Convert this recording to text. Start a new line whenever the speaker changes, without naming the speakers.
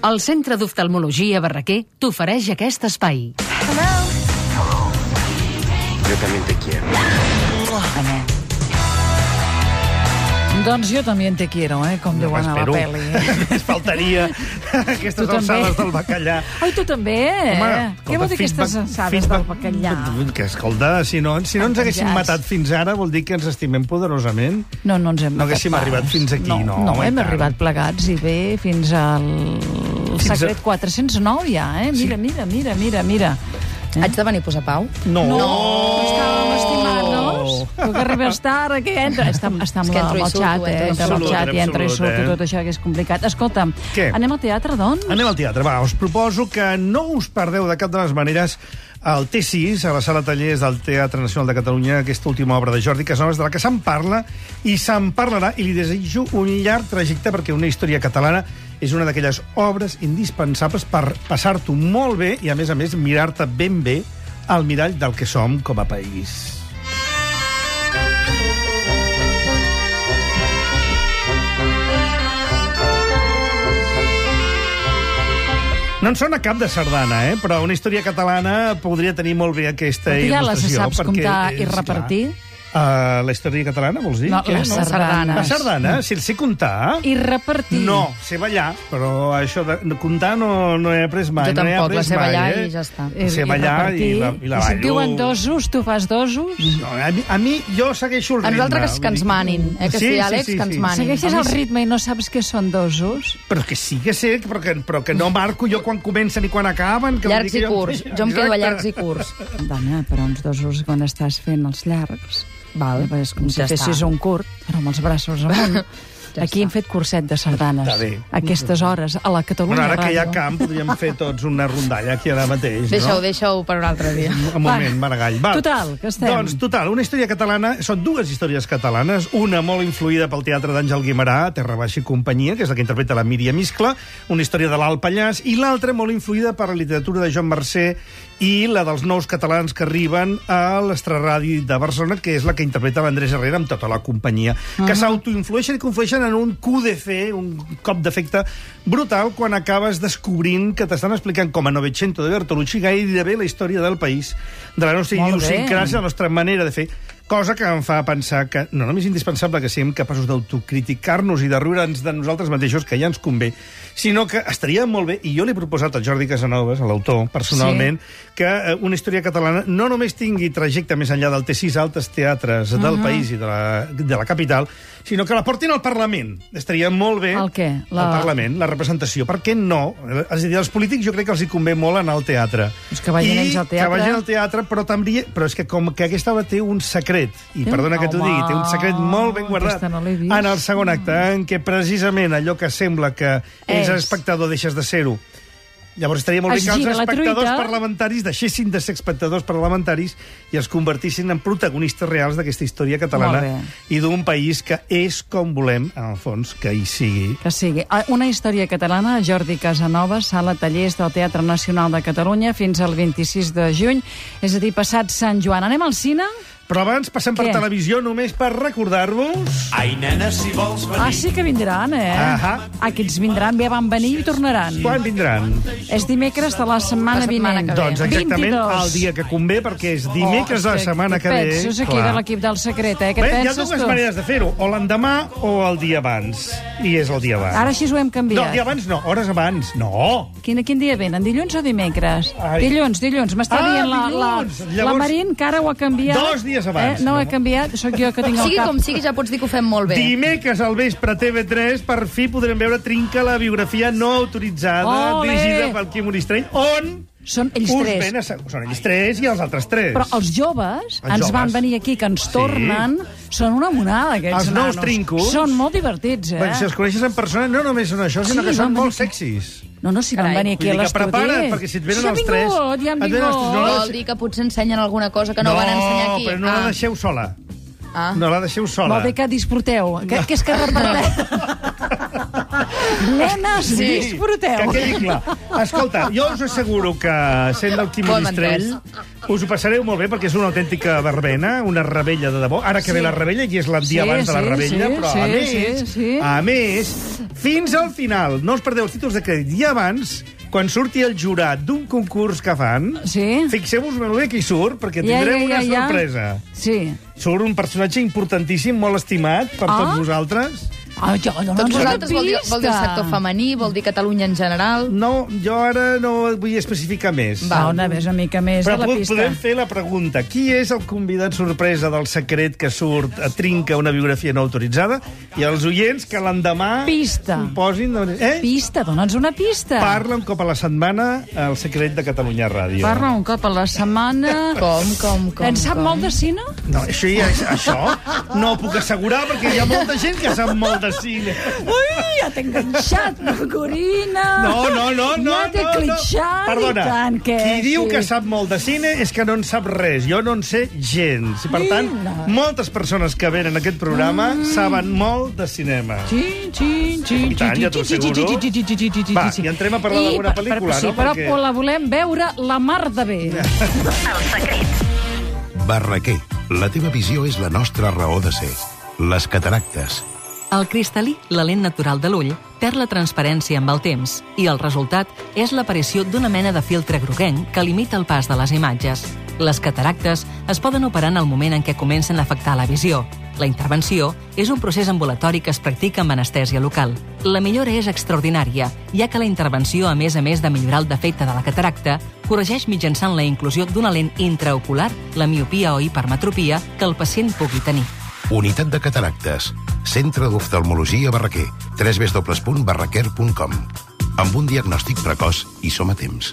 El Centre d'Oftalmologia Barraquer t'ofereix aquest espai.
Yo también te quiero.
Doncs jo també en te quiero, eh? com diuen a la
Espero.
pel·li. Eh?
Només faltaria aquestes
Tu també.
alçades del bacallà.
Ai, tu també, eh? Què vol dir aquestes
feedback-
alçades del bacallà?
Que, escolta, si no, si no ens haguéssim
Penjats.
matat fins ara, vol dir que ens estimem poderosament.
No, no ens hem
No haguéssim
matat
arribat
pas.
fins aquí, no,
No,
home, i
hem
tant.
arribat plegats i bé fins al
Fins a-
secret 409 ja, eh? Mira, mira, mira, mira, mira. Eh?
Haig de venir a posar pau?
No!
No, estàvem estimant-nos. Tu que arribes tard, aquí entra. Està, està
És
amb,
que
la,
entro i
amb el
surto,
xat, eh?
entro i
Entra amb el
surto.
xat i entra i
Absolut,
surto,
eh?
tot això que és complicat. Escolta'm,
Què?
anem al teatre, doncs?
Anem al teatre, va. Us proposo que no us perdeu de cap de les maneres el T6, a la sala tallers del Teatre Nacional de Catalunya, aquesta última obra de Jordi Casanovas, de la que se'n parla i se'n parlarà, i li desitjo un llarg trajecte perquè una història catalana és una d'aquelles obres indispensables per passar-t'ho molt bé i, a més a més, mirar-te ben bé al mirall del que som com a país. No en sona cap de sardana, eh? però una història catalana podria tenir molt bé aquesta
Tu ja les
il·lustració.
saps
perquè
comptar i
és clar.
repartir?
Uh, la història catalana, vols dir?
No,
Què?
les sardanes.
La sardana,
Mm.
si el sé comptar...
I repartir.
No, sé ballar, però això de comptar no, no he après mai.
Jo
no he
tampoc,
après
la sé
mai,
ballar
eh?
i ja està.
I-
Sé ballar i, la, i la Uh. Mm.
I si et
ballo.
diuen dosos, tu fas dosos?
No, a, mi, a mi jo segueixo el
A
ritme.
nosaltres que
vull
ens
dir
manin, eh, que sí, Àlex, que ens manin.
Segueixes
A mi
el
sí.
ritme i no saps què són dosos?
Però que sí que sé, però que, però que no marco jo quan comencen i quan acaben. Que vull
Llargs
dir
i
que
curts. Jo em quedo a
Exacte.
llargs i curts.
Dona, però uns dosos quan estàs fent els llargs... Val, és com si
ja
fessis
està.
un curt, però amb els braços amunt. ja Aquí hem fet curset de sardanes.
Està bé.
Aquestes hores, a la Catalunya
Bueno, ara que hi ha
Ràdio.
camp, podríem fer tots una rondalla aquí ara mateix, no?
Deixa-ho, deixa-ho per un altre dia.
Un moment, Maragall. Va.
Total, que estem.
Doncs, total, una història catalana... Són dues històries catalanes, una molt influïda pel teatre d'Àngel Guimarà, Terra Baixa i companyia, que és la que interpreta la Míriam Iscla, una història de l'Alt Pallàs, i l'altra molt influïda per la literatura de Joan Mercè i la dels nous catalans que arriben a l'estraradi de Barcelona, que és la que interpreta l'Andrés Herrera amb tota la companyia,
Ah.
que s'autoinflueixen i conflueixen en un coup de fer, un cop d'efecte brutal, quan acabes descobrint que t'estan explicant com a Novecento de Bertolucci gairebé la història del país, de la nostra
Molt bé.
idiosincràsia, la nostra manera de fer cosa que em fa pensar que no només és indispensable que siguem capaços d'autocriticar-nos i de riure'ns de nosaltres mateixos, que ja ens convé, sinó que estaria molt bé, i jo li he proposat al Jordi Casanovas, a l'autor, personalment, sí. que eh, una història catalana no només tingui trajecte més enllà del T6 a altres teatres del
Mhm.
país i de la, de la capital, sinó que la portin al Parlament. Estaria molt bé
El què?
La...
La-
al Parlament, la representació. Per què no? Eh, És a dir, als polítics jo crec que els hi convé molt anar al teatre.
Doncs que vagin
I
ells al teatre.
Que vagin al teatre, però també... Però és que com que aquesta obra té un secret, i
Té un-
perdona que t'ho
Home,
digui, té un secret molt ben guardat
aquesta no l'he vist.
en el segon acte, en què precisament allò que sembla que és,
És.
espectador deixes de ser-ho. Llavors estaria molt
Es
bé que els
gira la
espectadors
truita.
parlamentaris deixessin de ser espectadors parlamentaris i es convertissin en protagonistes reals d'aquesta història catalana
Molt
i d'un país que és com volem, en el fons, que hi sigui.
Que sigui. Ah, Una història catalana, Jordi Casanova, sala tallers del Teatre Nacional de Catalunya fins al 26 de juny, és a dir, passat Sant Joan. Anem al cine?
Però abans passem per
Què?
televisió només per recordar-vos...
Ai, nena, si vols venir...
Ah, sí que vindran, eh?
Ahà.
Aquests vindran, bé, van venir i tornaran.
Quan vindran?
És dimecres de la setmana
La setmana
vinent.
que ve.
Doncs exactament
22.
el dia que convé, perquè és dimecres de la setmana que ve.
Oh, Penses aquí
clar.
de l'equip del secret, eh? Què
Bé, hi ha
penses
dues
tu?
maneres de fer-ho, o l'endemà o el dia abans. I és el dia abans.
Ara així ho hem
No, el
canviat.
dia abans no, hores abans. No!
Quin, quin dia venen? Dilluns o dimecres?
Ai.
Dilluns, dilluns. M'està
Ah,
dient la,
dilluns.
la, la
Llavors,
Marín que ara ho ha canviat.
dos dies abans.
Eh? No, ho
No.
ha canviat. Sóc jo que tinc el
Sigui
cap.
com sigui, ja pots dir que ho fem molt bé.
Dimecres al vespre a TV3, per fi podrem veure Trinca la biografia no autoritzada,
Ole!
dirigida pel Quim Onistrell, on...
Són ells
us
tres.
ven a... Són ells tres i els altres tres.
Però els joves
Els
ens
joves.
van venir aquí, que ens tornen. Són una monada, aquests
Els nous
nanos.
trincos.
Són molt divertits, eh?
Bé, si els coneixes en persona, no només són això, sinó
Sí,
que
van
són molt
venir aquí.
sexis.
No, no, si van
Carai.
venir aquí
Vull
a
dir que
l'estudi.
prepara't, perquè si et venen
ja han
els tres-
vingut, Ja han
et venen els
vingut, ja han
tres, no, no,
vingut.
Vol dir que potser ensenyen alguna cosa que no, van ensenyar aquí.
però no la deixeu sola.
Ah.
No la deixeu sola.
Vol dir que disfruteu, que, que és que reparteu. Nenes,
Sí,
disfruteu.
Que quedi clar. Escolta, jo us asseguro que sent del Quim
Com
Onistrell, Us ho passareu molt bé perquè és una autèntica verbena, una rebella de debò. Ara que sí. ve la rebella, aquí és l'endí
Sí,
abans de la
sí,
rebella,
sí,
però a
sí,
més,
sí, sí.
a més, fins al final, no us perdeu els títols de crèdit. I abans, quan surti el jurat d'un concurs que fan,
Sí.
fixeu-vos molt bé qui surt, perquè tindrem una sorpresa.
Sí.
Surt un personatge importantíssim, molt estimat per
Ah.
tots vosaltres.
Ah, jo, no,
Tots
no,
vosaltres vol dir, vol dir el sector femení, vol dir Catalunya en general...
No, jo ara no vull especificar més.
Va, una vez una mica més
Però
de la
po-
pista.
podem fer la pregunta. Qui és el convidat sorpresa del secret que surt a trinca una biografia no autoritzada i els oients que l'endemà...
Pista.
s'ho Posin... de- Eh?
Pista, dona'ns una pista.
Parla un cop a la setmana al secret de Catalunya Ràdio.
Parla un cop a la setmana.
Com, com, com...
en sap
com?
molt de cine?
No, això, ja, això no ho puc assegurar perquè hi ha molta gent que sap molt de cine.
Ui, ja t'he enganxat, Corina.
No, no, no, no.
Ja t'he
no, no.
clitxat
Perdona,
i tant. Que
qui diu
sí.
que sap molt de cine és que no en sap res. Jo no en sé gens. I, per tant,
Mira.
moltes persones que venen a aquest programa saben molt de cinema.
Xin, xin, xin,
I tant, ja t'ho
xin, xin,
asseguro.
xin, xin, xin, xin, xin,
Va,
xin.
i entrem a parlar
I
d'alguna
per- per-
pel·lícula,
sí,
no?
però
Perquè-
la volem veure la mar de bé.
Barraquer, la teva visió és la nostra raó de ser. Les cataractes.
El cristal·lí, la lent natural de l'ull, perd la transparència amb el temps i el resultat és l'aparició d'una mena de filtre groguenc que limita el pas de les imatges. Les cataractes es poden operar en el moment en què comencen a afectar la visió. La intervenció és un procés ambulatori que es practica amb anestèsia local. La millora és extraordinària, ja que la intervenció, a més a més de millorar el defecte de la cataracta, corregeix mitjançant la inclusió d'una lent intraocular, la miopia o hipermetropia, que el pacient pugui tenir.
Unitat de cataractes. Centre d'oftalmologia Barraquer. www.barraquer.com Amb un diagnòstic precoç i som a temps.